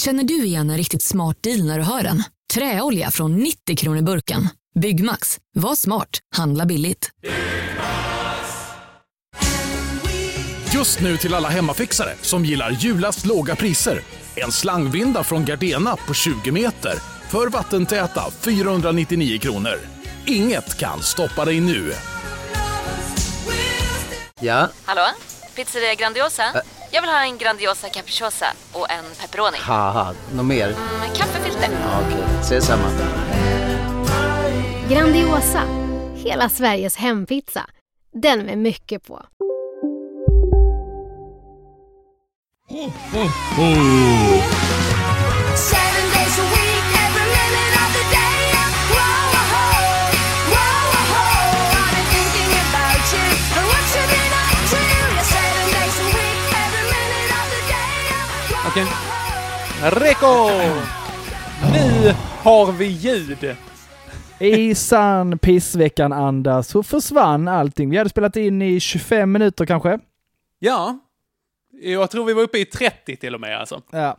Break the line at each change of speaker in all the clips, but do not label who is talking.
Känner du igen en riktigt smart deal när du hör den? Träolja från 90 kronor burken. Byggmax, var smart, handla billigt.
Just nu till alla hemmafixare som gillar julast låga priser. En slangvinda från Gardena på 20 meter för vattentäta 499 kronor. Inget kan stoppa dig nu.
Ja,
Hallå? Pizzeria Grandiosa? Jag vill ha en Grandiosa capriciosa och en pepperoni.
haha, något mer?
Med kaffefilter.
Ja, Okej, ses samma.
Grandiosa, hela Sveriges hempizza. Den med mycket på.
Seven days a week, every minute of the day. Whoa-a-ho, whoa-a-ho. I've been thinking about you and what you've been up to. Yeah, seven days a week, every minute of the day.
Okej. Reko! Nu har vi ljud!
I sann pissveckan-anda så försvann allting. Vi hade spelat in i 25 minuter kanske.
Ja. Jag tror vi var uppe i 30 till och med alltså.
Ja.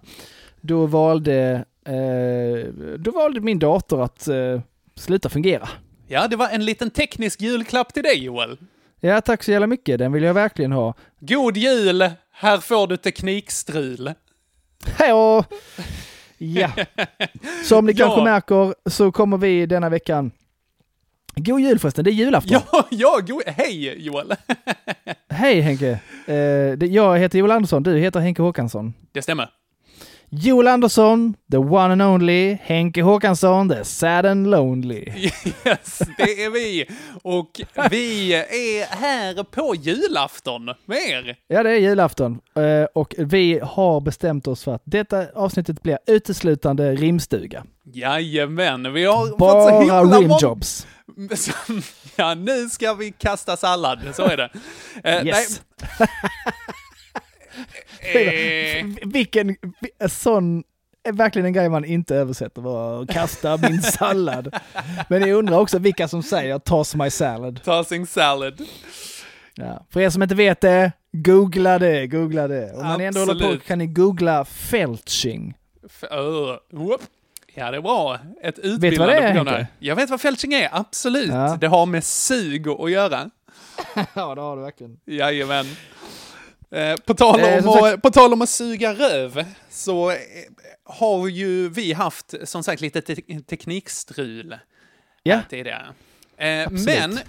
Då valde, eh, då valde min dator att eh, sluta fungera.
Ja, det var en liten teknisk julklapp till dig Joel.
Ja, tack så jävla mycket. Den vill jag verkligen ha.
God jul! Här får du teknikstrul.
Hej då! Ja. Som ni
Ja.
kanske märker så kommer vi denna veckan... God jul förresten, det är julafton.
Ja, ja, go- hej Joel!
Hej Henke! Eh, det- jag heter Joel Andersson, du heter Henke Håkansson.
Det stämmer.
Joel Andersson, the one and only. Henke Håkansson, the sad and lonely.
Yes, det är vi. Och vi är här på julafton med er.
Ja, det är julafton. Eh, Och vi har bestämt oss för att detta avsnittet blir uteslutande rimstuga.
Jajamän, vi har fått så
Bara
himla många...
rimjobs.
Som- Ja, nu ska vi kasta sallad, så är det. Eh,
Yes.
nej, eh,
Vilken vi- en sån är verkligen en grej man inte översätter, bara kasta min sallad. Men jag undrar också vilka som säger toss my salad.
tossing salad.
Ja. För er som inte vet det, googla det, googla det. Om man ändå håller på
Absolut.
kan ni googla felching.
F- öh, whoop. Ja, det är bra. Ett
Vet du vad det
utbildande
är,
program där.
Henke?
Jag vet vad fältning är, absolut.
Ja.
Det har med sug att göra.
Ja, det har du verkligen.
Jajamän. Eh, på, tal
Eh,
om
som
att,
sagt-
på tal om att suga röv så eh, har ju vi haft som sagt lite te- teknikstrul
Ja,
tidigare. Eh,
Absolut.
men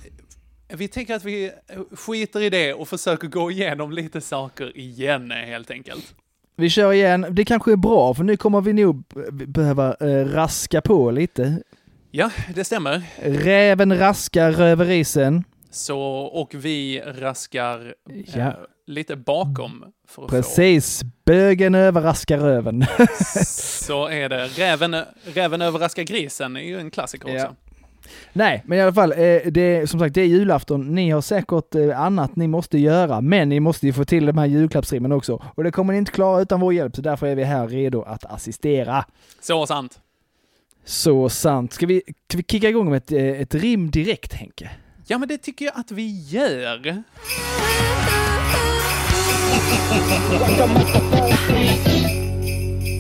vi tänker att vi eh, skiter i det och försöker gå igenom lite saker igen helt enkelt.
vi kör igen. Det kanske är bra, för nu kommer vi nog b- behöva eh, raska på lite.
Ja, det stämmer.
Räven raskar röverisen.
Så, och vi raskar eh,
Ja.
lite bakom för att få
Precis, bögen överraskar röven.
Så är det. Räven, räven överraskar grisen är ju en klassiker
Ja.
också.
Nej, men i alla fall, eh, det är, som sagt det är julafton. Ni har säkert eh, annat ni måste göra, men ni måste ju få till de här julklappsrimmen också. Och det kommer ni inte klara utan vår hjälp, så därför är vi här redo att assistera.
Så sant.
Så sant. Ska vi, ska vi kicka igång med ett, eh, ett rim direkt, Henke?
Ja, men det tycker jag att vi gör.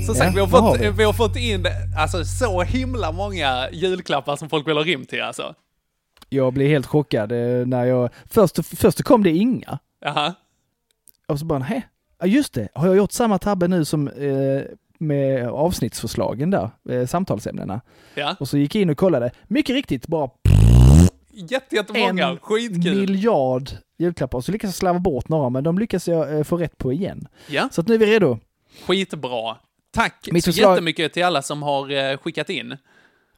Som
Ja,
sagt, vi, har
vad har
fått,
vi?
vi har fått in alltså, så himla många julklappar som folk vill ha rim till alltså.
Jag blev helt chockad eh, när jag... Först, först kom det inga.
Jaha.
Och så bara, hä? Ja just det, har jag gjort samma tabbe nu som eh, med avsnittsförslagen där, eh, samtalsämnena?
Ja.
Och så gick jag in och kollade, mycket riktigt bara en
Jätte, jättemånga. Skitkul.
miljard julklappar. Så lyckas jag slarva bort några, men de lyckas jag eh, få rätt på igen.
Ja,
Så att nu är vi redo.
skitbra. Tack
Mitt
så
förslag-
jättemycket till alla som har eh, skickat in.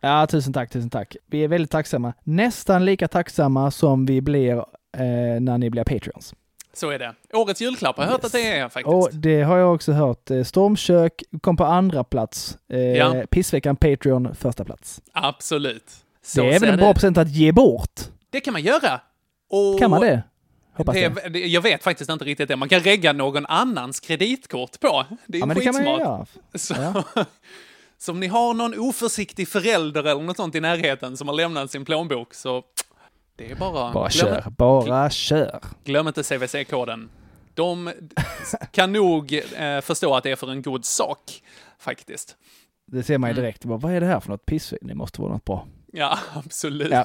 Ja, tusen tack, tusen tack. Vi är väldigt tacksamma. Nästan lika tacksamma som vi blir eh, när ni blir Patreons.
Så är det. Årets julklapp har jag hört
Yes.
att det är faktiskt.
Och det har jag också hört. Eh, Stormkök kom på andra plats. Eh,
Ja.
Pissveckan Patreon första plats.
Absolut. Så
det är väl
ser
en bra procent att ge bort?
Det kan man göra. Och
Kan man det? Hoppas
det,
det.
det? Jag vet faktiskt inte riktigt det. Man kan regga någon annans kreditkort på. Det
Ja,
är ja,
men det kan man ju
skitsmart.
göra.
Så,
Ja.
så om ni har någon oförsiktig förälder eller något sånt i närheten som har lämnat sin plånbok så det är bara...
Bara
glöm,
kör, bara kör.
glöm inte CVC-koden. De s- kan nog eh, förstå att det är för en god sak, faktiskt.
Det ser man
Mm.
ju direkt. Bara, vad är det här för något pissvin? Det måste vara något bra.
Ja, absolut.
Ja.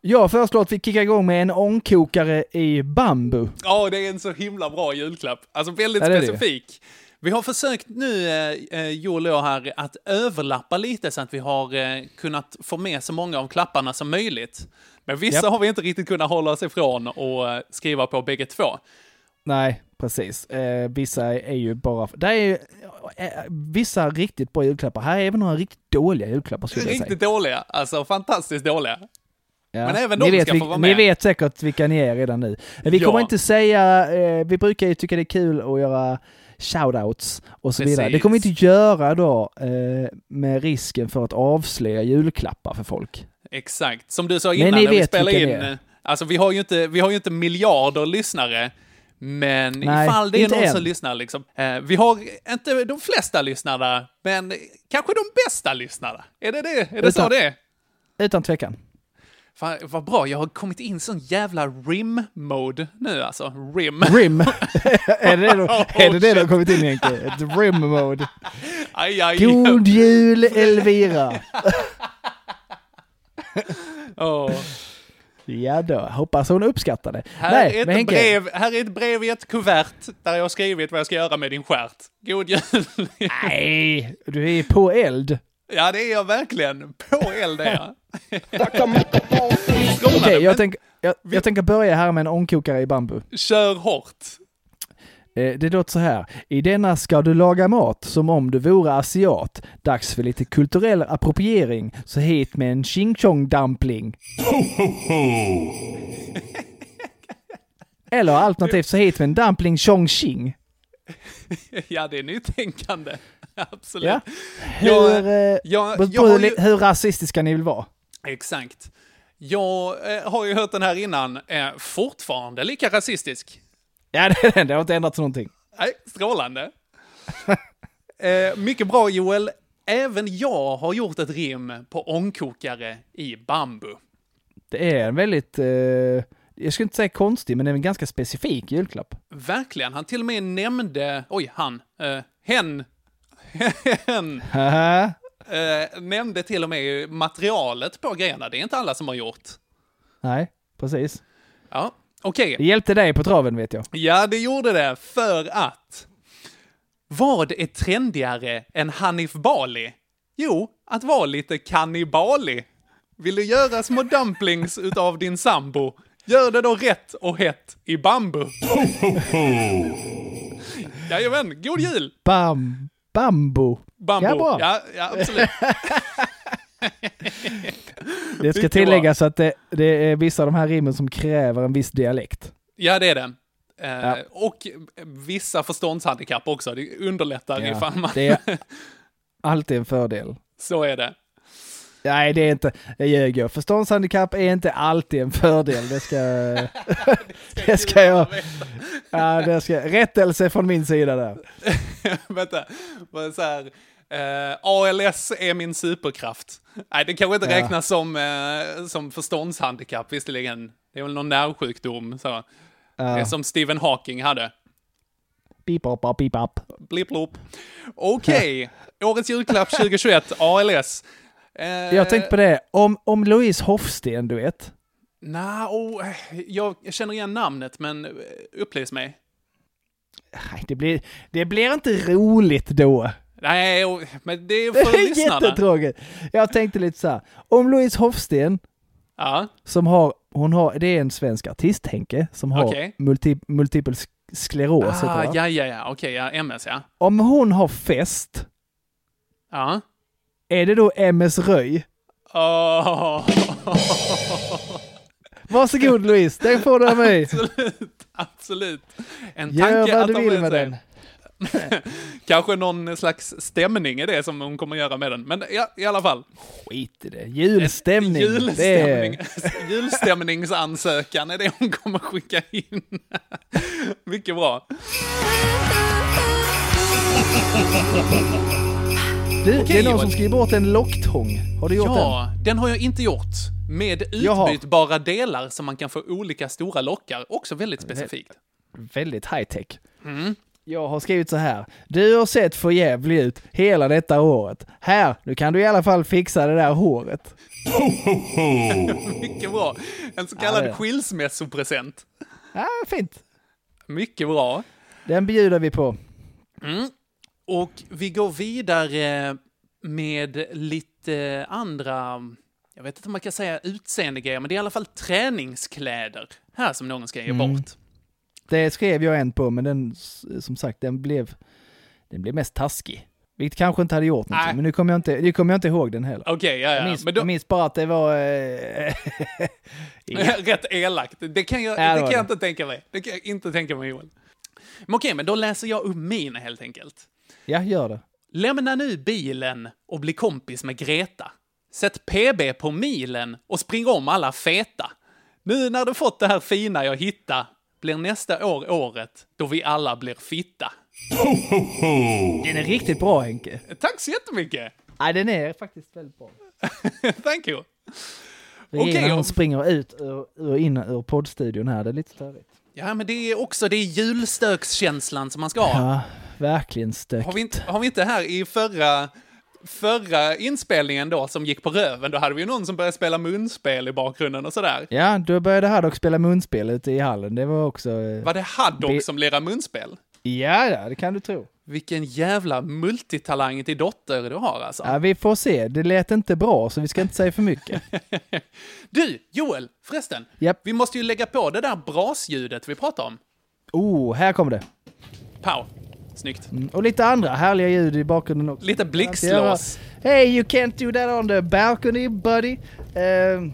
Jag föreslår att vi kickar igång med en ångkokare i bambu.
Ja, det är en så himla bra julklapp. Alltså väldigt
Ja, det är det.
specifik. Vi har försökt nu, eh, eh, Joel och jag här, att överlappa lite så att vi har eh, kunnat få med så många av klapparna som möjligt. Men vissa
Japp.
har vi inte riktigt kunnat hålla oss ifrån och eh, skriva på bägge två.
Nej, precis. Eh, vissa är ju bara... Det är ju, eh, vissa riktigt bra julklappar. Här är även några riktigt dåliga julklappar skulle jag säga.
Riktigt dåliga, alltså fantastiskt dåliga.
Ja.
men även
ni
de
vet,
ska
vi,
få vara
Ni
med.
vet säkert vilka ni är redan nu. Eh, Vi
Ja.
kommer inte säga... Eh, vi brukar ju tycka det är kul att göra shoutouts och så vidare.
Precis.
Det kommer vi inte göra då eh, med risken för att avslöja julklappar för folk.
Exakt, som du sa
Men
innan
ni
när vi
vet
spelade
vilka
in.
det är.
Alltså vi har ju inte, vi har ju inte miljarder lyssnare. Men
Nej,
ifall det är
inte
någon
än.
som lyssnar liksom. Eh, vi har inte de flesta lyssnarna, men kanske de bästa lyssnarna. Är det det? Är det så
Utan-
det är?
Utan tvekan.
Fan, vad bra, jag har kommit in i sån jävla rim-mode nu alltså. Rim. Oh,
Rim. är det det, de, är det, det de har kommit in i Henke? Ett rim-mode.
Aj, aj.
God jul Elvira!
Åh.
Ja då, hoppas hon uppskattar det.
Här,
Nej,
är
men
ett
Henke,
brev, här är ett brev i ett kuvert där jag har skrivit vad jag ska göra med din stjärt. God jul!
Nej, du är på eld.
Ja, det är jag verkligen. På eld är jag.
Okej,
Skålade,
jag,
men
tänk, jag, jag tänker börja här med en ångkokare i bambu.
Kör hårt.
Eh, det låter så här. I denna ska du laga mat som om du vore asiat. Dags för lite kulturell appropriering, så hit med en ching chong dumpling. Eller alternativt så hit med en dumpling chong ching.
Ja, det är nytänkande. Absolut.
Ja.
Jag-
Hur, eh,
jag-
beror
jag har
li-
ju-
hur rasistiska ni vill vara.
Exakt. Jag eh, har ju hört den här innan. Eh, fortfarande lika rasistisk.
Ja, det, det har inte ändrats någonting.
Nej, strålande. eh, mycket bra, Joel. Även jag har gjort ett rim på ångkokare i bambu.
Det är en väldigt, eh, jag skulle inte säga konstig, men det är en ganska specifik julklapp.
Verkligen. Han till och med nämnde... Oj, han. Eh, hen. hen.
Haha.
Eh, nämnde till och med materialet på grejerna. Det är inte alla som har gjort.
Nej, precis.
Ja, okej.
Det hjälpte dig på traven vet jag.
Ja, det gjorde det. För att... Vad är trendigare än Hanif Bali? Jo, att vara lite kannibali. Vill du göra små dumplings utav din sambo? Gör det då rätt och hett i bambu. Jajamän, god jul!
Bam, bambu.
Bambu.
Ja, bra.
ja, ja absolut.
Det ska
Mycket bra.
tilläggas att det, det är vissa av de här rimmen som kräver en viss dialekt.
Ja, det är det. Eh, Och vissa förståndshandikapp också. Det underlättar ifall man...
det är alltid en fördel.
Så är det.
Nej, det är inte, jag ljög jag. Förståndshandikapp är inte alltid en fördel. Det ska, det ska jag, ja, det ska, rättelse från min sida där.
Vänta, vad är så här. eh, ALS är min superkraft. Nej, det kanske inte
Ja.
räknas som, eh, som förståndshandikapp visserligen. Det är väl någon nervsjukdom. Så. Det är som Stephen Hawking hade.
Beep up, beep up.
Blipp blopp. Okej, årets julklapp 2021, ALS. Eh,
Jag tänkte på det, om, om Louise Hofsten, du vet.
Nja, oh, jag jag känner igen namnet, men eh, upplys mig.
Nej, det blir, det blir inte roligt då.
Nej, oh, men det är
Det
för
är
lyssnarna.
jättetråkigt. Jag tänkte lite så här, om Louise Hofsten,
Ja,
som har, hon har, det är en svensk artist, Henke, som har
Okej.
multi, multipel sk- skleros, heter
ah,
det, va?
ja, ja, ja, okej, ja, MS, ja.
Om hon har fest,
Ja.
är det då MS Röj?
Åh,
Varsågod Louise, den får du av mig.
absolut, absolut. En tanke
Gör vad
att
du
ta
vill med
sig.
den.
Kanske någon slags stämning är det som hon kommer göra med den. Men ja, i alla fall.
Skit i det. Julstämning. Det är-
Julstämning. Julstämningsansökan är det hon kommer skicka in. Mycket bra.
Du, det
Okej,
är någon som
vad-
skriver bort en locktång. Har du gjort den?
Ja, den har jag inte gjort. Med
Jaha.
utbytbara delar som man kan få olika stora lockar. Också väldigt specifikt.
väldigt high tech.
Mm.
Jag har skrivit så här. Du har sett för jävlig ut hela detta året. Här, nu kan du i alla fall fixa det där håret.
Mycket bra. En så
Ja,
kallad
det är.
skilsmässopresent.
Ja, fint.
Mycket bra.
Den bjuder vi på.
Och vi går vidare med lite andra, jag vet inte om man kan säga utseendegrejer, men det är i alla fall träningskläder här som någon ska ge
Mm.
bort.
Det skrev jag en på, men den, som sagt, den blev, den blev mest taskig. Vilket kanske inte hade gjort någonting,
Nej.
men nu kommer jag inte, nu kommer jag inte ihåg den heller.
Okej, ja,
Jag
ja.
minns,
Men då,
jag minns bara att det var... Eh, ja.
Rätt elakt. Det kan jag,
Ja, det
det
var
kan jag
det.
inte tänka mig. Det kan jag inte tänka mig, Joel. Men okej, men då läser jag upp mina helt enkelt.
ja, gör det.
Lämna nu bilen och bli kompis med Greta. Sätt PB på milen och spring om alla feta. Nu när du fått det här fina jag hitta blir nästa år året då vi alla blir fitta.
Den är riktigt bra Henke.
Tack så jättemycket!
Nej, den är faktiskt väldigt bra.
Thank you!
Det är
Okej,
när han
och-
springer ut ur, ur, in ur poddstudion här, det är lite störigt.
Ja, men det är också det är julstökskänslan som man ska ha.
Ja, verkligen stökigt.
Har vi, inte, har vi inte här i förra, förra inspelningen då som gick på röven, då hade vi ju någon som började spela munspel i bakgrunden och sådär.
Ja, då började Haddock spela munspel ute i hallen. Det var också... eh,
Var det Haddock
Det-
som lirade munspel?
Ja, ja, det kan du tro.
Vilken jävla multitalang till dotter du har alltså.
Ja, vi får se. Det lät inte bra, så vi ska inte säga för mycket.
Du, Joel, förresten.
Japp.
Vi måste ju lägga på det där brasljudet vi pratade om.
Oh, här kommer det.
Pow. Snyggt.
Mm, Och lite andra härliga ljud i bakgrunden också.
Lite blixtlås.
Hey, you can't do that on the balcony, buddy. Ehm,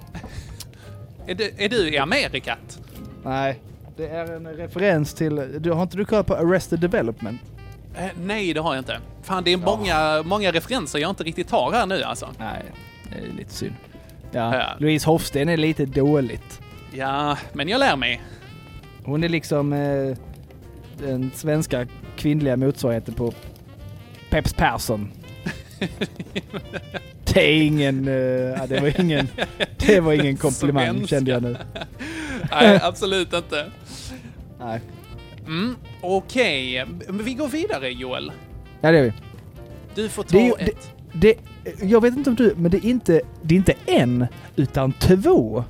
Är du, är du i Amerikat?
nej, det är en referens till... Du, har inte du kollat på Arrested Development?
Eh, nej, det har jag inte. Fan, det är många, många referenser jag inte riktigt tar här nu alltså.
Nej, det är lite synd. Ja,
Ja.
Louise Hofsten är lite dåligt.
Ja, men jag lär mig.
Hon är liksom eh, den svenska kvinnliga motsvarigheten på Peps Persson. Det är ingen, eh, ja, det var ingen, det var ingen komplimang
Svenska.
kände jag nu.
Nej, absolut inte.
Nej.
Mm, Okej, men vi går vidare Joel.
Ja det är vi.
Du får ta
Det är ju-
ett.
Det, jag vet inte om du, men det är inte, det är inte en, utan två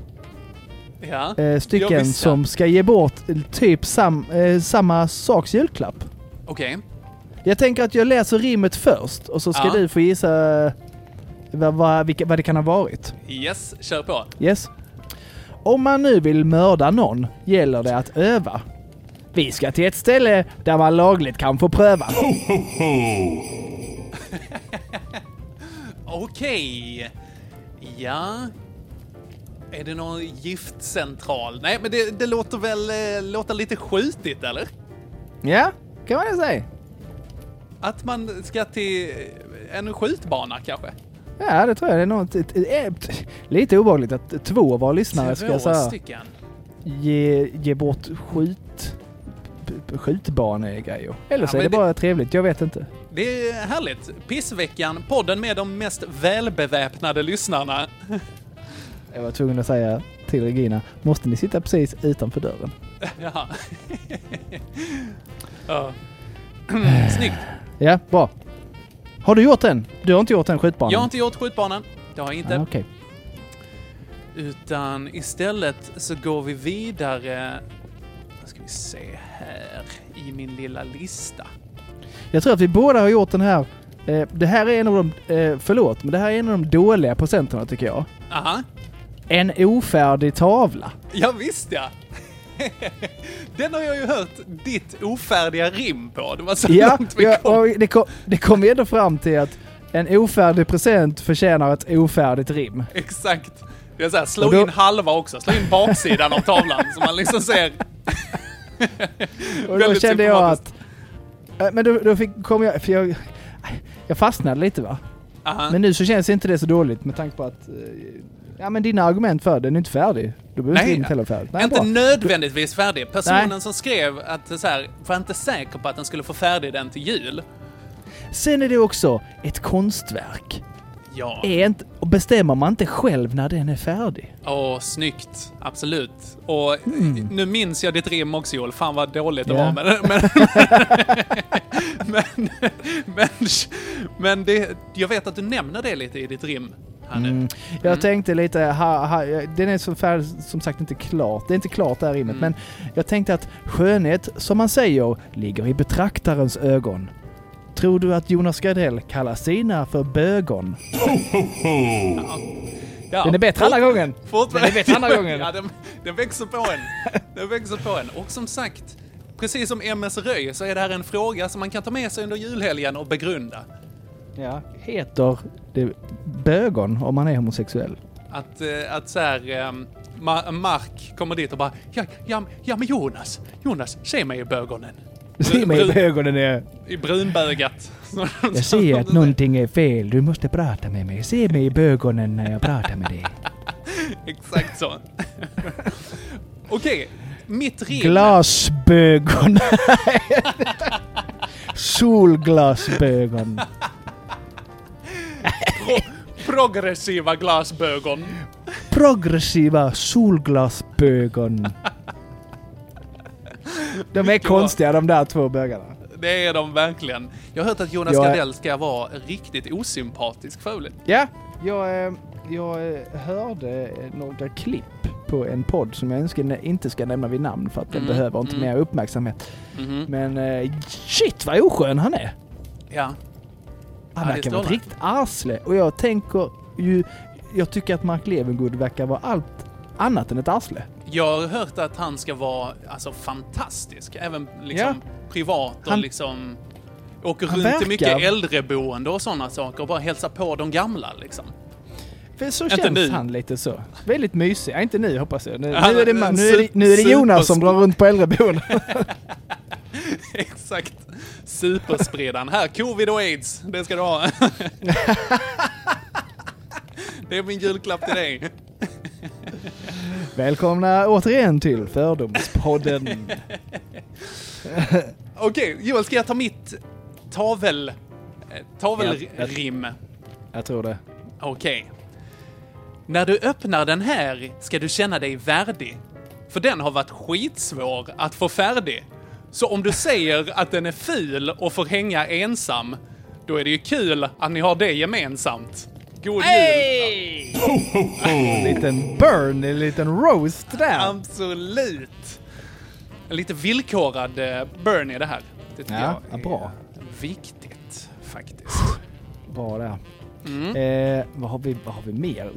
ja.
eh,
Ja,
stycken
visst, ja.
som ska ge bort eh, typ sam, eh, samma saks julklapp.
Okej.
Jag tänker att jag läser rimmet först och så ska
Ja.
du få gissa eh, vad, vad, vilka, vad det kan ha varit.
Yes, kör på.
Yes. Om man nu vill mörda någon gäller det att öva. Vi ska till ett ställe där man lagligt kan få pröva.
Okej. Ja. Är det någon giftcentral? Nej, men det, det låter väl eh, låter lite skjutigt, eller?
Ja, kan man ju säga.
Att man ska till eh, en skjutbana kanske?
Ja, det tror jag. Det är något, ett, ett, ett, lite obehagligt att två av våra lyssnare ska så
Två
här,
stycken.
ge, ge bort skjut, p- skjutbanegrejer. Eller så
Ja,
är det
men det-
bara trevligt, jag vet inte.
Det är härligt. Pissveckan, podden med de mest välbeväpnade lyssnarna.
Jag var tvungen att säga till Regina, måste ni sitta precis utanför dörren?
Ja. ja. Snyggt.
Ja, bra. Har du gjort den? Du har inte gjort den skjutbanan?
Jag har inte gjort skjutbanan. Det har jag inte.
Ah, Okej.
Utan istället så går vi vidare. Vad ska vi se här i min lilla lista?
Jag tror att vi båda har gjort den här. Eh, det här är en av de, eh, förlåt, men det här är en av de dåliga presenterna tycker jag.
Aha.
En ofärdig tavla.
Ja, visst ja! Den har jag ju hört ditt ofärdiga rim på. Det var så
Ja,
långt vi
ja
kom.
och det kom, det kom ju ändå fram till att en ofärdig present förtjänar ett ofärdigt rim.
Exakt. Det är så här, slå
Och då-
in halva också. Slå in baksidan av tavlan så man liksom ser.
Och då
Väldigt
kände jag att...
symptomatiskt.
Eh, Men då, då fick, kom jag... För jag, äh, jag fastnade lite va?
Aha.
Men nu så känns inte det så dåligt med tanke på att... eh, Ja men dina argument för den är inte färdig. Då behöver inte
Nej,
rimmet heller vara färdigt. Nej,
inte
bra.
nödvändigtvis färdig. Personen
Nej.
som skrev att så här, var inte säker på att den skulle få färdig den till jul.
Sen är det också ett konstverk.
Ja.
Är inte, och bestämmer man inte själv när den är färdig?
Åh, snyggt. Absolut. Och nu minns jag ditt rim också Joel. Fan vad dåligt det
Mm. Ja.
var. Men, men, men, men, men det, jag vet att du nämner det lite i ditt rim här nu.
Jag
Mm.
tänkte lite, ha, ha, den är så färdig, som sagt inte klart, det är inte klart det här
Mm.
rimmet, men jag tänkte att skönhet, som man säger, ligger i betraktarens ögon. Tror du att Jonas Gardell kallar sina för bögon?
Ja.
Den är bättre andra gången!
Fortfarande.
Den är bättre andra gången.
Ja, den, den växer på en. Den växer på en. Och som sagt, precis som MS Röj så är det här en fråga som man kan ta med sig under julhelgen och begrunda.
Ja. Heter det bögon om man är homosexuell?
Att, eh, att så här, ehm, Ma- Mark kommer dit och bara ja, ja, ja men Jonas, Jonas, se mig i ögonen.
Se mig i ögonen är...
I brunbögat.
Jag ser att någonting är fel, du måste prata med mig. Se mig i ögonen när jag pratar med dig.
Exakt så. Okej, mitt rim.
Glasbögon. Solglasbögon.
Pro- progressiva glasbögon.
Progressiva solglasbögon. De är konstiga de där två bögarna.
Det är de verkligen. Jag har hört att Jonas
Jag är-
Gardell ska vara riktigt osympatisk förut.
Ja, jag, eh, jag eh, hörde eh, några klipp på en podd som jag önskar- inte ska nämna vid namn för att
Mm-hmm.
den behöver inte mer uppmärksamhet. Men eh, shit vad oskön han är!
Ja.
Han
Ja, det
verkar
står
vara ett
där.
riktigt arsle. Och jag tänker ju... Jag tycker att Mark Levengood verkar vara allt annat än ett arsle.
Jag har hört att han ska vara alltså, fantastisk, även liksom, privat och
Han-
liksom åker
han
runt
verkar-
till mycket äldreboende och sådana saker och bara hälsar på de gamla liksom.
För så
Inte
känns
nu.
han lite så. Väldigt mysig. Ja, inte nu hoppas jag. Nu,
Han
nu, är, det,
är
man,
en
nu, är, det, nu är det
super-
Jonas som drar runt på äldreboenden.
Exakt. Superspridaren. Här, covid och aids. Det ska du ha. Det är min julklapp till dig.
Välkomna återigen till Fördomspodden.
Okej, Joel, ska jag ta mitt tavel... eh, Tavelrim?
jag tror det.
Okej. När du öppnar den här ska du känna dig värdig. För den har varit skitsvår att få färdig. Så om du säger att den är ful och får hänga ensam, då är det ju kul att ni har det gemensamt. God jul!
En liten burn, en liten roast där.
Absolut! En lite villkorad eh, burn är det här. Det tycker
Ja,
jag är
bra.
viktigt faktiskt. Mm.
Bra där. Eh, vad, har vi, vad har vi mer?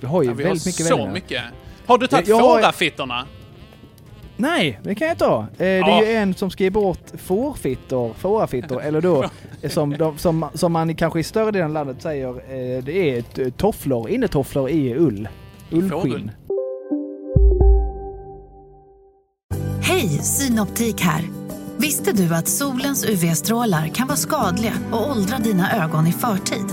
Vi har ju
Ja, vi har
väldigt mycket
så
vänner.
mycket. Har du tagit
Jag- jag har-
fårafittorna?
Nej, det kan jag ta. Eh, det
Ja.
är ju en som skriver bort fårfittor, fårafittor, eller då eh, som, de, som, som man kanske i större delen av landet säger, eh, det är t- tofflor, innetofflor i ull. Ullskinn.
Fårull.
Hej, Synoptik här. Visste du att solens UV-strålar kan vara skadliga och åldra dina ögon i förtid?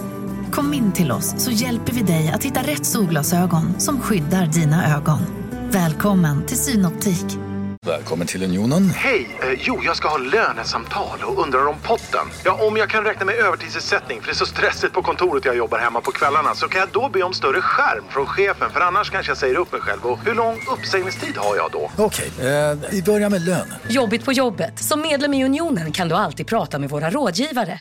Kom in till oss så hjälper vi dig att hitta rätt solglasögon som skyddar dina ögon. Välkommen till Synoptik.
Välkommen till Unionen.
Hej! Eh, jo, jag ska ha lönesamtal och undrar om potten. Ja, om jag kan räkna med övertidsersättning för det är så stressigt på kontoret jag jobbar hemma på kvällarna så kan jag då be om större skärm från chefen för annars kanske jag säger upp mig själv. Och hur lång uppsägningstid har jag då?
Okej, eh, vi börjar med lön.
Jobbigt på jobbet. Som medlem i Unionen kan du alltid prata med våra rådgivare.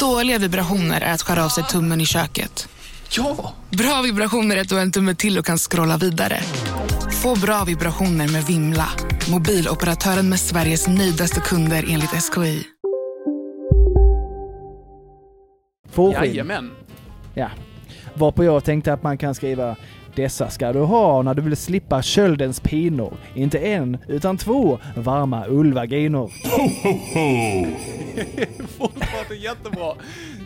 Dåliga vibrationer är att skära av sig tummen i köket.
Ja!
Bra vibrationer är att du har en tumme till och kan scrolla vidare. Få bra vibrationer med Vimla. Mobiloperatören med Sveriges nöjdaste kunder enligt SKI.
Fårskinn.
Jajamän.
Ja. Varpå jag tänkte att man kan skriva dessa ska du ha när du vill slippa köldens pinor. Inte en, utan två varma ullvaginor.
Fortfarande jättebra.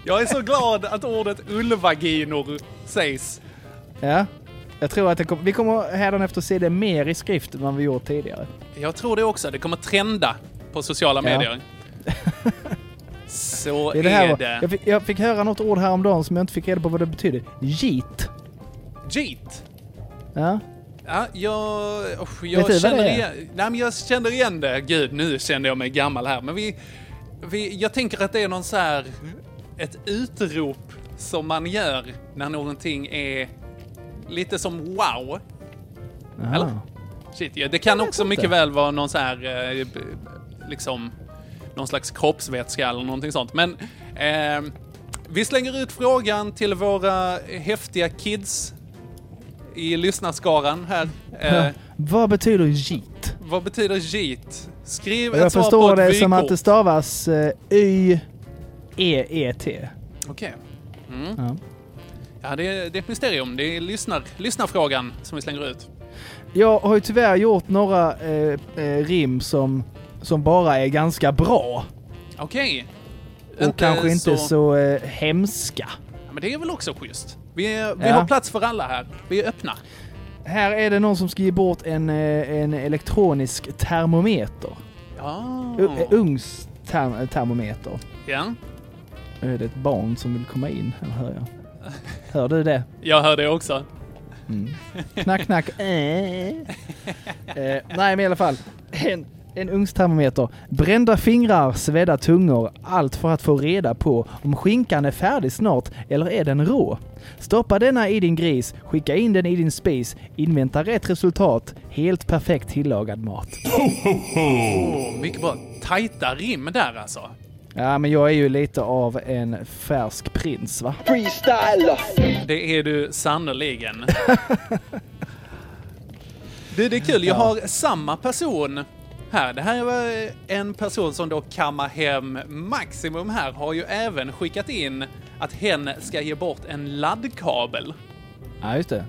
Jag är så glad att ordet ullvaginor sägs.
Ja. Jag tror att det kom, vi kommer hädanefter se det mer i skrift än vad vi gjort tidigare.
Jag tror det också. Det kommer trenda på sociala
Ja.
medier. Så
Det
är
är det här.
det.
Jag, fick, jag fick höra något ord häromdagen som jag inte fick reda på vad det betyder. Jeet.
Jeet.
Ja.
Ja, jag, usch,
Vet du
jag,
vad
känner
det är?
igen, nej, men jag känner igen det. Gud, nu kände jag mig gammal här. Men vi, vi, jag tänker att det är någon så här ett utrop som man gör när någonting är lite som wow.
Aha.
Eller? Shit, ja, det kan
Jag vet
också
inte.
mycket väl vara någon så här, eh, b- liksom, någon slags kroppsvätska eller någonting sånt. Men eh, vi slänger ut frågan till våra häftiga kids i lyssnarskaran här. Eh,
Vad betyder jeet?
vad betyder JIT? Skriv ett
Jag
svar på
förstår
ett
det som
vykort.
att det stavas eh, E, Y-E-E-T.
Okej. Mm.
Ja.
Ja, det, är, det är ett mysterium. Det är lyssnar, lyssnarfrågan som vi slänger ut.
Jag har ju tyvärr gjort några eh, eh, rim som, som bara är ganska bra.
Okej.
Och kanske inte så, eh, hemska.
Ja, men det är väl också schysst. Vi, är, vi
Ja.
har plats för alla här. Vi är öppna.
Här är det någon som ska ge bort en, eh, en elektronisk termometer.
Ja.
U- eh, Ugnstermometer.
Ja,
Nu är det ett barn som vill komma in, här hör jag. Hör du det?
jag hör det också.
Knack, knack. Eh. Eh, nej, men i alla fall. En, en ugnstermometer. Brända fingrar, svedda tungor. Allt för att få reda på om skinkan är färdig snart eller är den rå. Stoppa denna i din gris, skicka in den i din spis, invänta rätt resultat. Helt perfekt tillagad mat.
Oh, mycket bra. Tajta rim där alltså.
Ja, men jag är ju lite av en färsk prins, va?
Freestyler! Det är du sannerligen. Du, det är kul.
Ja.
Jag har samma person här. Det här var en person som då kammar hem maximum här. Har ju även skickat in att hen ska ge bort en laddkabel.
Ja, just det.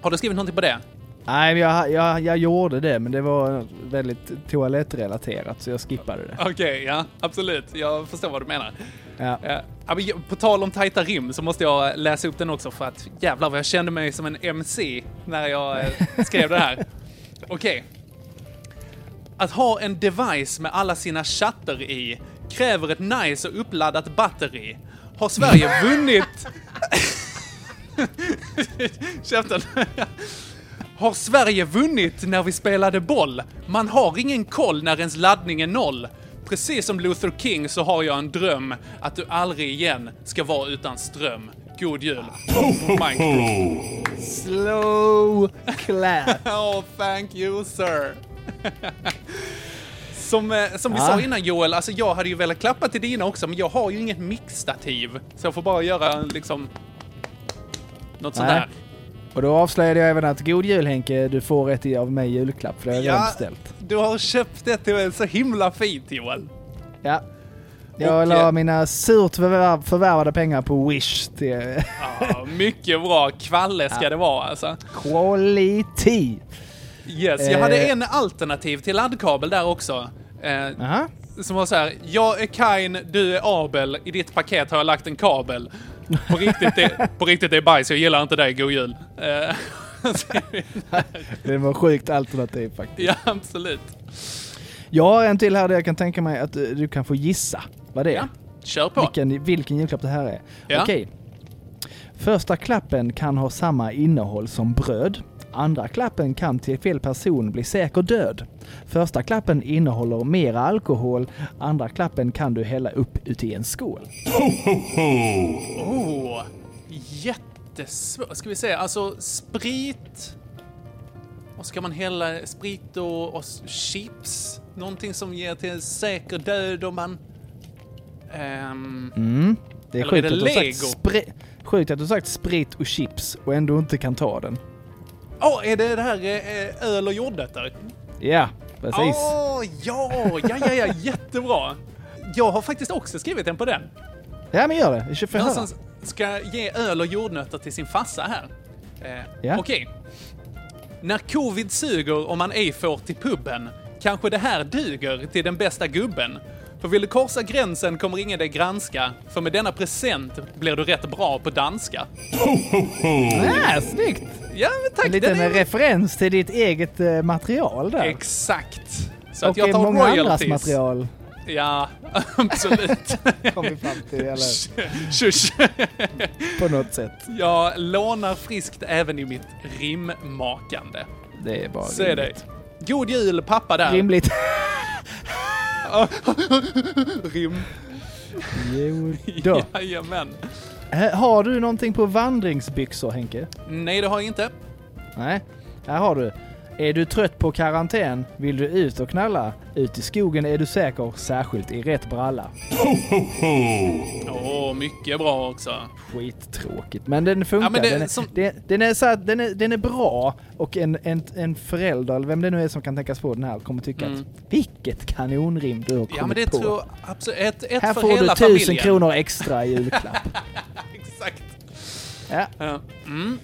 Har du skrivit någonting på det?
Nej, men jag, jag, jag gjorde det, men det var väldigt toalettrelaterat, så jag skippade det.
Okej, ja, absolut. Jag förstår vad du menar.
Ja.
Eh, ja, men jag- På tal om tajta rim så måste jag läsa upp den också för att jävlar vad jag kände mig som en MC när jag eh, skrev det här. Okej. Att ha en device med alla sina chatter i kräver ett nice och uppladdat batteri. Har Sverige vunnit... Käften. Har Sverige vunnit när vi spelade boll? Man har ingen koll när ens laddning är noll. Precis som Luther King så har jag en dröm att du aldrig igen ska vara utan ström. God jul. Mike.
Slow clap.
Oh, thank you sir. Som, eh, som vi
Ja.
sa innan Joel, alltså jag hade ju velat klappa till dina också, men jag har ju inget mixstativ. Så jag får bara göra liksom... Något sånt
Nej.
där.
Och då avslöjade jag även att God Jul Henke, du får ett i av mig julklapp, för det har jag redan beställt.
du har köpt det till mig så himla fint Joel.
Ja. Jag
Och,
la
eh,
mina surt förvärv, förvärvade pengar på Wish till
Ja, mycket bra. Kvalle ska det vara alltså.
quality.
Yes, jag hade
Eh.
en alternativ till laddkabel där också. Eh,
Aha.
Som var så här, jag är Kain, du är Abel, i ditt paket har jag lagt en kabel. På riktigt, det, på riktigt det är bajs, jag gillar inte dig, god jul. Eh,
Det var sjukt alternativ faktiskt.
ja, absolut.
Jag har en till här där jag kan tänka mig att eh, du kan få gissa vad det är.
Kör på.
Vilken, vilken julklapp det här är.
Ja.
Okej. Första klappen kan ha samma innehåll som bröd. Andra klappen kan till fel person bli säker död. Första klappen innehåller mera alkohol. Andra klappen kan du hälla upp uti en skål.
Oh, jättesvårt. Ska vi se, alltså sprit. Och ska man hälla sprit och, och s- chips. Någonting som ger till säker död om man... Ehm,
Mm. Det är
Eller
sjukt
är
att,
det
du har
Lego?
sagt spri- sjukt att du har sagt sprit och chips och ändå inte kan ta den.
Åh, är det det här eh, öl och jordnötter?
Ja, precis.
Åh, ja, ja, ja, ja, jättebra. Jag har faktiskt också skrivit en på den.
Ja men gör det, vi kör för
Någon
höra.
som ska ge öl och jordnötter till sin farsa här. Eh,
Ja.
Okej. När covid suger och man ej får till puben, kanske det här duger till den bästa gubben. För vill du korsa gränsen kommer ingen dig granska, för med denna present blir du rätt bra på danska.
Ja, snyggt!
Ja, men tack!
En
den
liten
är-
referens till ditt eget eh, material där.
Exakt! Så att
och
jag
eh,
tar
många andras
royalties.
material.
Ja, absolut.
Kom vi fram till, eller
Tjus.
på något sätt.
Jag lånar friskt även i mitt rimmakande.
Det är bara
Så är det.
rimligt.
God jul pappa där.
Rimligt.
Rim.
Jo då.
Jajamän.
Eh, Har du någonting på vandringsbyxor Henke?
Nej, det har jag inte.
Nej, här har du. Är du trött på karantän? Vill du ut och knalla? Ut i skogen är du säker, särskilt i rätt bralla.
Åh, mycket bra också.
Skittråkigt, men den funkar.
Ja, men det-
den, är,
som-
den, den, är så här, den, är, den är bra och en, en, en förälder, eller vem det nu är som kan tänkas få den här, kommer tycka
Mm.
att vilket kanonrim du har kommit
Ja, men det
på.
tror jag absolut. Ett, ett
här
för
får du
hela
tusen
familjen.
kronor extra i julklapp.
Exakt.
Ja.
Mm.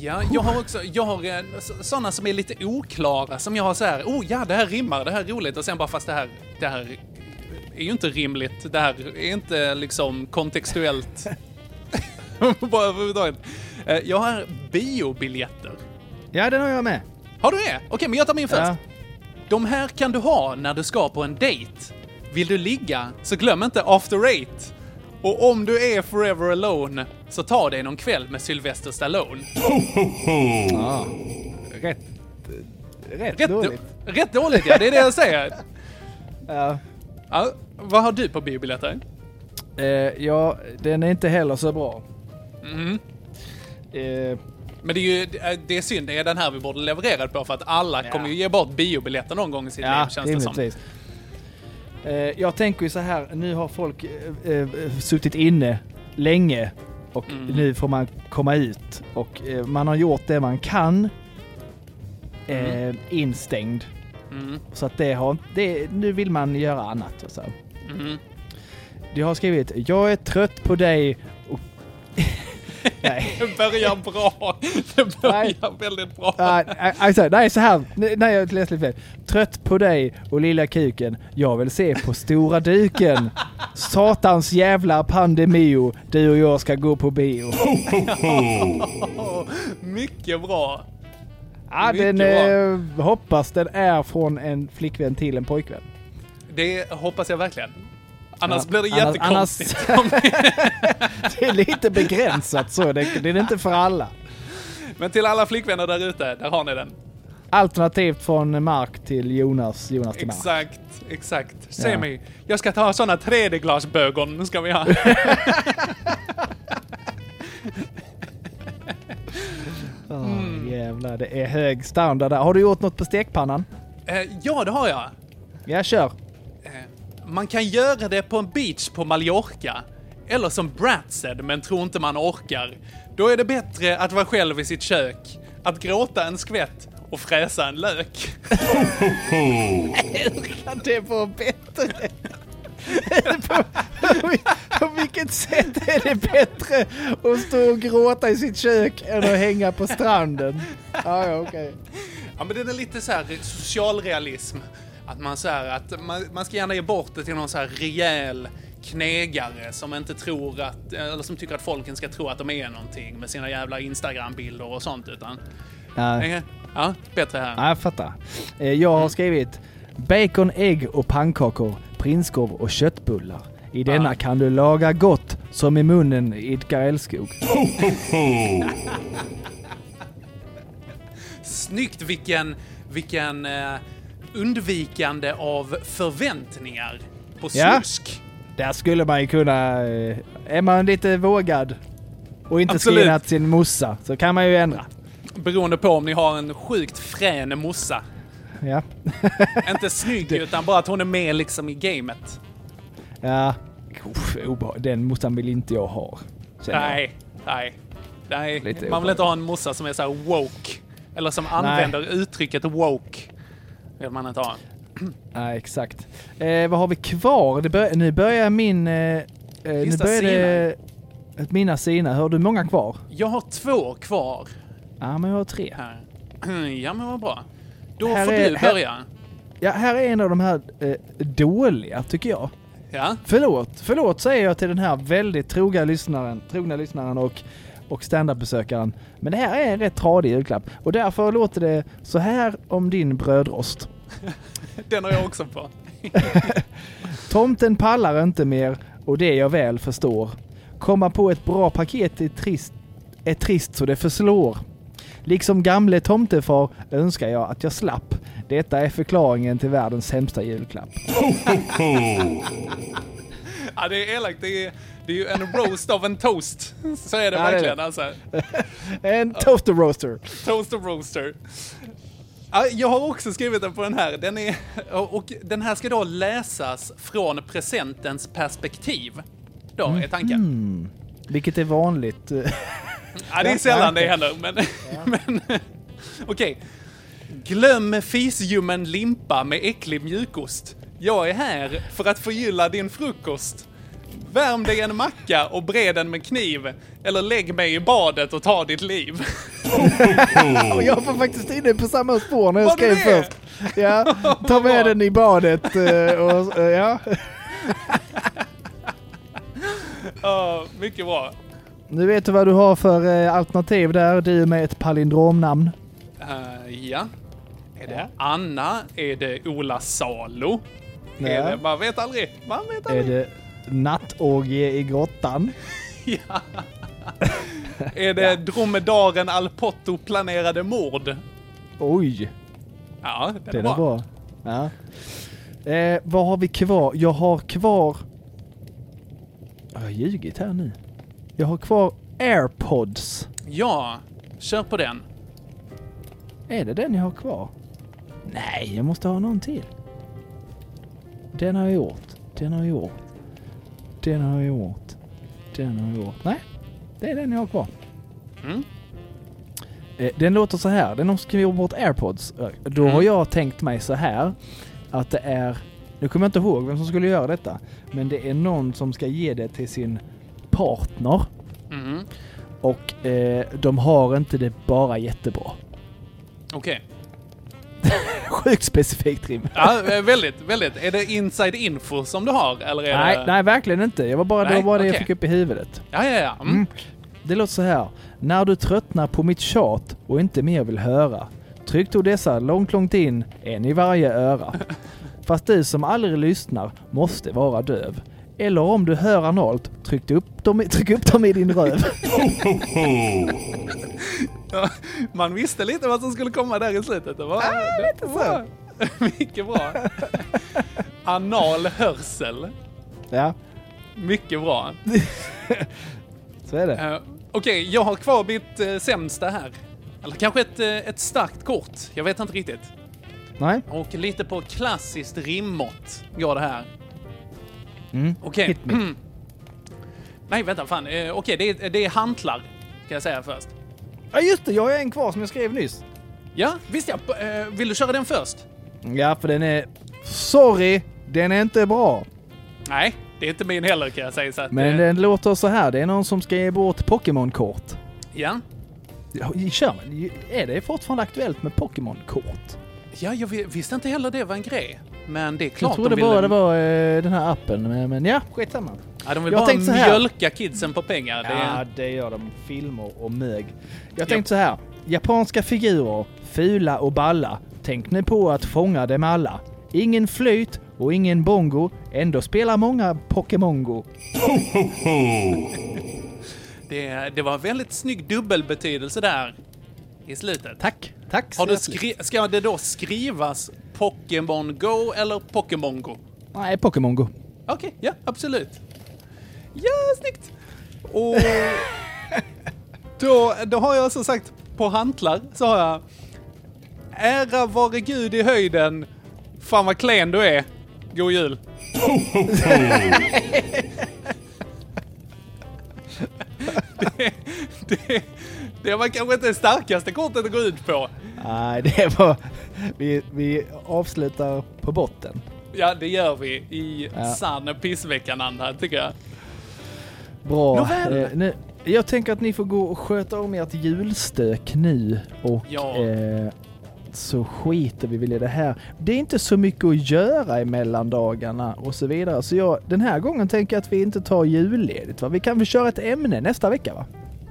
Ja, jag har också, jag har eh, så- såna som är lite oklara, som jag har så här, oh ja, det här rimmar, det här är roligt, och sen bara fast det här, det här är ju inte rimligt, det här är inte liksom kontextuellt. Bara överhuvudtaget. Eh, Jag har biobiljetter.
ja, den har jag med.
Har du det? Okej, men jag tar min först.
Ja.
De här kan du ha när du ska på en dejt. Vill du ligga, så glöm inte After Eight. Och om du är forever alone, så ta dig någon kväll med Sylvester Stallone.
Ja. Rätt, rätt,
Rätt,
dåligt.
då- rätt dåligt, ja. Det är det jag säger.
Ja.
Ja, vad har du på biobiljetter?
Eh, ja, den är inte heller så bra.
Mhm.
Eh,
Men det är ju det är synd, det är den här vi borde leverera på för att alla kommer ju ge bort biobiljetter någon gång i sitt liv känns det som.
rimligtvis. Eh, jag tänker ju så här, nu har folk eh, eh, suttit inne länge och
Mm.
nu får man komma ut och eh, man har gjort det man kan eh, instängd.
Mm.
Så att det har, det, nu vill man göra annat. Och så.
Mhm.
Du har skrivit, jag är trött på dig och
Det börjar bra. Det börjar väldigt bra.
Nej, nej, alltså, nej, så här. Nej, nej, jag läste lite fel. Trött på dig och lilla kuken. Jag vill se på stora duken. Satans jävla pandemio. Du och jag ska gå på bio.
Mycket bra.
Ja, den
Mycket bra.
eh, hoppas den är från en flickvän till en pojkvän.
Det hoppas jag verkligen. Annars
Ja,
blir det
annars-
jättekonstigt.
Det är lite begränsat så. Det, det är inte för alla.
Men till alla flickvänner där ute, där har ni den.
Alternativt från Mark till Jonas, Jonas till Mark.
Exakt, exakt. Se
Ja.
mig. Jag ska ta såna 3D-glasbögon ska vi ha.
Åh, jävlar, det är hög standard där. Har du gjort något på stekpannan?
Eh, ja, det har jag. Eh,
Ja, kör.
Man kan göra det på en beach på Mallorca. Eller som Brat said, men tror inte man orkar. Då är det bättre att vara själv i sitt kök. Att gråta en skvätt och fräsa en lök.
Hur kan det vara bättre? på, på vilket sätt är det bättre att stå och gråta i sitt kök än att hänga på stranden? Ja, ja, okej.
Ja, men det är lite så här socialrealism. Att man så här, att man, man ska gärna ge bort det till någon så här rejäl knegare som inte tror att, eller som tycker att folken ska tro att de är någonting med sina jävla Instagram-bilder och sånt utan...
Ja.
Eh, Ja, bättre här.
Ja, jag fattar. Eh, Jag har skrivit bacon, ägg och pannkakor, prinskorv och köttbullar. I denna kan du laga gott som i munnen idkar älskog.
Snyggt vilken, vilken eh, undvikande av förväntningar på
Ja.
snusk.
Där skulle man ju kunna... eh, Är man lite vågad och inte
Absolut.
skrivit sin mossa så kan man ju ändra.
Beroende på om ni har en sjukt frän mossa.
Ja.
Inte snygg utan bara att hon är med liksom i gamet.
Ja, Uff, obeha- den mossan vill inte jag ha. känner jag.
Nej, nej, nej.
Lite
Man vill inte ha en morsa som är så här woke. Eller som använder uttrycket woke. vill man inte ha.
Nej, exakt. Eh, vad har vi kvar? Det bör, nu börjar min... Eh, eh, nu
Lista
börjar det... Att mina sina. Har du många kvar?
Jag har två kvar
Ja, men jag har tre.
här. Ja, men vad bra. Då
Här
får
är-
du
här-
börja.
Ja, här är en av de här eh, dåliga, tycker jag.
Ja.
Förlåt, förlåt säger jag till den här väldigt troga lyssnaren, trogna lyssnaren och, och standup-besökaren. Men det här är en rätt tradig julklapp. Och därför låter det så här om din brödrost.
Den har jag också på.
Tomten pallar inte mer och det jag väl förstår. Komma på ett bra paket är trist, är trist så det förslår. Liksom gamle tomtefar önskar jag att jag slapp. Detta är förklaringen till världens sämsta julklapp.
Ja, det är elakt. Det är, det är ju en roast av en toast. Så är det
Ja, det är
verkligen
det.
alltså.
En toaster roaster.
Toast och roaster. Ja, Jag har också skrivit den på den här. Den, är, och den här ska då läsas från presentens perspektiv. Då är tanken.
Mm. Vilket är vanligt.
Ja, det är sällan det händer, men... men Okej. Glöm fisljummen limpa med äcklig mjukost. Jag är här för att förgylla din frukost. Värm dig en macka och bred den med kniv. Eller lägg mig i badet och ta ditt liv.
Och jag var faktiskt inne på samma spår när jag
Var du
skrev
det?
först. Ja, ta med den i badet eh, och eh, ja.
Ja, mycket bra.
Nu vet du vad du har för eh, alternativ där, du med ett palindromnamn.
Eh, ja. Är det Anna? Är det Ola Salo?
Nej.
Är det, man vet aldrig. Man vet
Är
aldrig.
det nattorgie i grottan?
Är det dromedaren Alpotto planerade mord?
Oj,
Ja, den,
det
är
är
bra.
bra. Ja. Eh, vad har vi kvar? Jag har kvar... Jag har ljugit här nu. Jag har kvar airpods.
Ja, kör på den.
Är det den jag har kvar? Nej, jag måste ha någon till. Den har jag gjort. Den har jag gjort. Den har jag gjort. Den har jag gjort. Nej, det är den jag har kvar.
Mm.
Eh, Den låter så här. Den skriver bort airpods. Eh, Då har jag tänkt mig så här. Att det är... Nu kommer jag inte ihåg vem som skulle göra detta. Men det är någon som ska ge det till sin partner.
Mm.
Och eh, de har inte det bara jättebra.
Okej.
Sjukt specifikt rim.
Ja, eh, väldigt, väldigt. Är det inside info som du har, eller är
Nej,
det...
nej, verkligen inte. Jag var bara, det var
Nej,
bara det jag
okej.
fick upp i huvudet.
Ja, ja, ja. Mm.
Mm. Det låter så här. När du tröttnar på mitt tjat och inte mer vill höra. Tryck då dessa långt, långt in, en i varje öra. Fast du som aldrig lyssnar måste vara döv. Eller om du hör analt, tryck upp dem, i- tryck upp dem i din röv.
Ja, Man visste lite vad som skulle komma där i slutet. Det var...
Ah,
det
lite så.
Mycket bra. Anal hörsel.
Ja,
Mycket bra.
så är det.
Eh, Okej, jag har kvar mitt eh, sämsta här. Eller kanske ett, eh, ett starkt kort. Jag vet inte riktigt.
Nej?
Och lite på klassiskt rimmått går det här.
Mm.
Okej.
Hit me.
Nej, vänta, fan. Eh, Okej, det, är- det är hantlar. Kan jag säga först.
Ja just det, jag har en kvar som jag skrev nyss.
Ja, visst ja. P- eh, Vill du köra den först?
Ja, för den är... Sorry, den är inte bra.
Nej, det är inte min heller kan jag säga. Så att,
Men
eh,
den låter så här. Det är någon som ska ge bort Pokémon-kort.
ja.
Ja, Kör man. Är det fortfarande aktuellt med Pokémon-kort?
ja, jag vi- visste inte heller det var en grej. Men det är klart
Jag trodde
de
bara
ville,
det var eh, den här appen, men, men ja, skitsamma.
ja, de vill
jag
bara
tänkte så här.
mjölka kidsen på pengar. Det
Ja,
är,
det gör de. Filmer och mög. Jag tänkte så här. Japanska figurer, fula och balla. Tänk nu på att fånga dem alla. Ingen flöjt och ingen bongo. Ändå spelar många Pokémongo.
det, det var en väldigt snygg dubbelbetydelse där i slutet.
Tack. Tack så
Har du
hjärtligt.
skri- ska det då skrivas Pokémon Go eller Pokémon Go?
Nej, Pokémongo.
Okej, ja absolut. Ja, snyggt! Och då, då har jag som sagt på hantlar så har jag Ära vare Gud i höjden. Fan vad klen du är. God jul. det, det, det var kanske inte det starkaste kortet att gå ut på.
Nej, det var... Vi, vi avslutar på botten.
Ja, det gör vi i
Ja.
sann pissveckan, Anna, tycker jag.
Bra.
Nåväl.
Eh, nu, jag tänker att ni får gå och sköta om ert julstök nu och
Ja.
eh, så skiter vi väl i det här. Det är inte så mycket att göra i mellandagarna och så vidare. Så jag, den här gången tänker jag att vi inte tar julledigt. Va? Vi kan väl köra ett ämne nästa vecka va?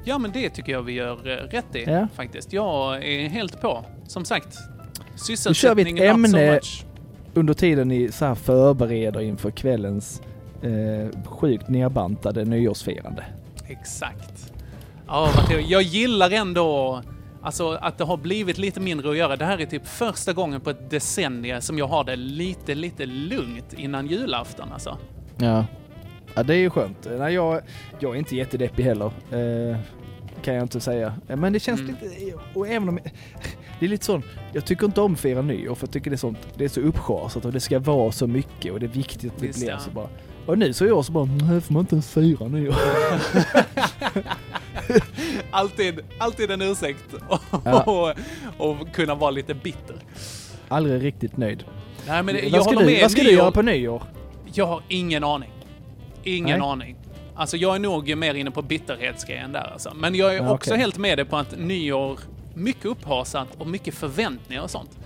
Ja, men det tycker jag vi gör eh, rätt i
Ja.
faktiskt. Jag är helt på. Som sagt,
Då kör vi ett
sysselsättningen not so
ämne.
much.
Under tiden ni så här förbereder inför kvällens eh, sjukt nedbantade nyårsfirande.
Exakt. Ja, vad trevligt. jag gillar ändå alltså, att det har blivit lite mindre att göra. Det här är typ första gången på ett decennium som jag har det lite, lite lugnt innan julafton alltså.
Ja. Ja, det är ju skönt. Nej, jag, jag är inte jättedeppig heller. Eh, kan jag inte säga. Eh, Men det
Mm.
känns lite... Och även om... Det är lite sån... Jag tycker inte om fira nyår för jag tycker det är, sånt, det är så uppschasat och det ska vara så mycket och det är viktigt att det
Visst,
blir
ja.
så bara. Och nu så är jag så bara, nej får man inte ens fira nyår?
Alltid, alltid en ursäkt och,
Ja.
och, och kunna vara lite bitter.
Aldrig riktigt nöjd.
Nej, men det- jag
vad ska,
håller
du,
med.
vad ska du
Nyår-
göra på nyår?
Jag har ingen aning. Ingen
Nej.
aning. Alltså jag är nog mer inne på bitterhetsgrejen där alltså. Men jag är
Ja,
också
okej.
helt med dig på att nyår, mycket upphasat och mycket förväntningar och sånt.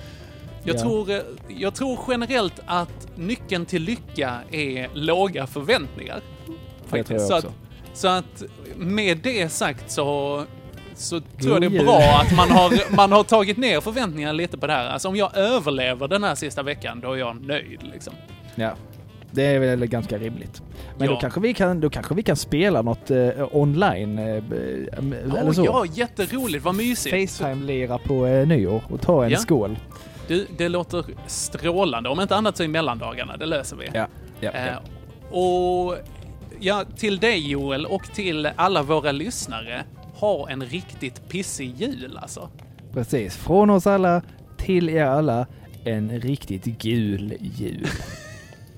Jag,
Ja.
tror, eh, jag tror generellt att nyckeln till lycka är låga förväntningar.
Det tror jag
så,
också.
att, så att med det sagt så, så tror jag
God
det är
jul.
bra att man har, man har tagit ner förväntningarna lite på det här. Alltså om jag överlever den här sista veckan, då är jag nöjd liksom.
Ja, det är väl ganska rimligt. Men
Ja.
då, kanske vi kan, då kanske vi kan spela något eh, online. Eh, eh, eller
Åh,
så.
Ja, jätteroligt. Vad mysigt.
Facetime-lira på eh, nyår och ta en
Ja.
skål.
Du, det låter strålande. Om inte annat så i mellandagarna. Det löser vi.
Ja, ja,
Eh, och ja, till dig Joel och till alla våra lyssnare. Ha en riktigt pissig jul alltså.
Precis. Från oss alla till er alla. En riktigt gul jul.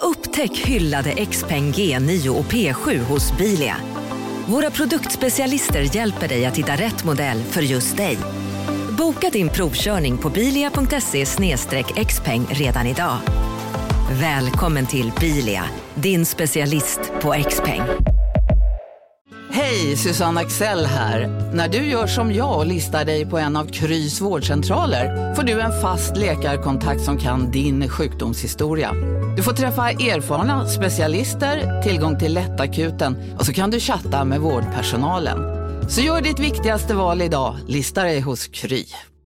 Upptäck hyllade XPeng G9 och P7 hos Bilia. Våra produktspecialister hjälper dig att hitta rätt modell för just dig. Boka din provkörning på bilia.se xpeng redan idag. Välkommen till Bilia, din specialist på XPeng.
Hej, Susanne Axel här. När du gör som jag och listar dig på en av Krys vårdcentraler får du en fast läkarkontakt som kan din sjukdomshistoria. Du får träffa erfarna specialister, tillgång till lättakuten och så kan du chatta med vårdpersonalen. Så gör ditt viktigaste val idag, lista dig hos Kry.